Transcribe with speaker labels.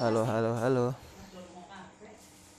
Speaker 1: Halo, halo, halo.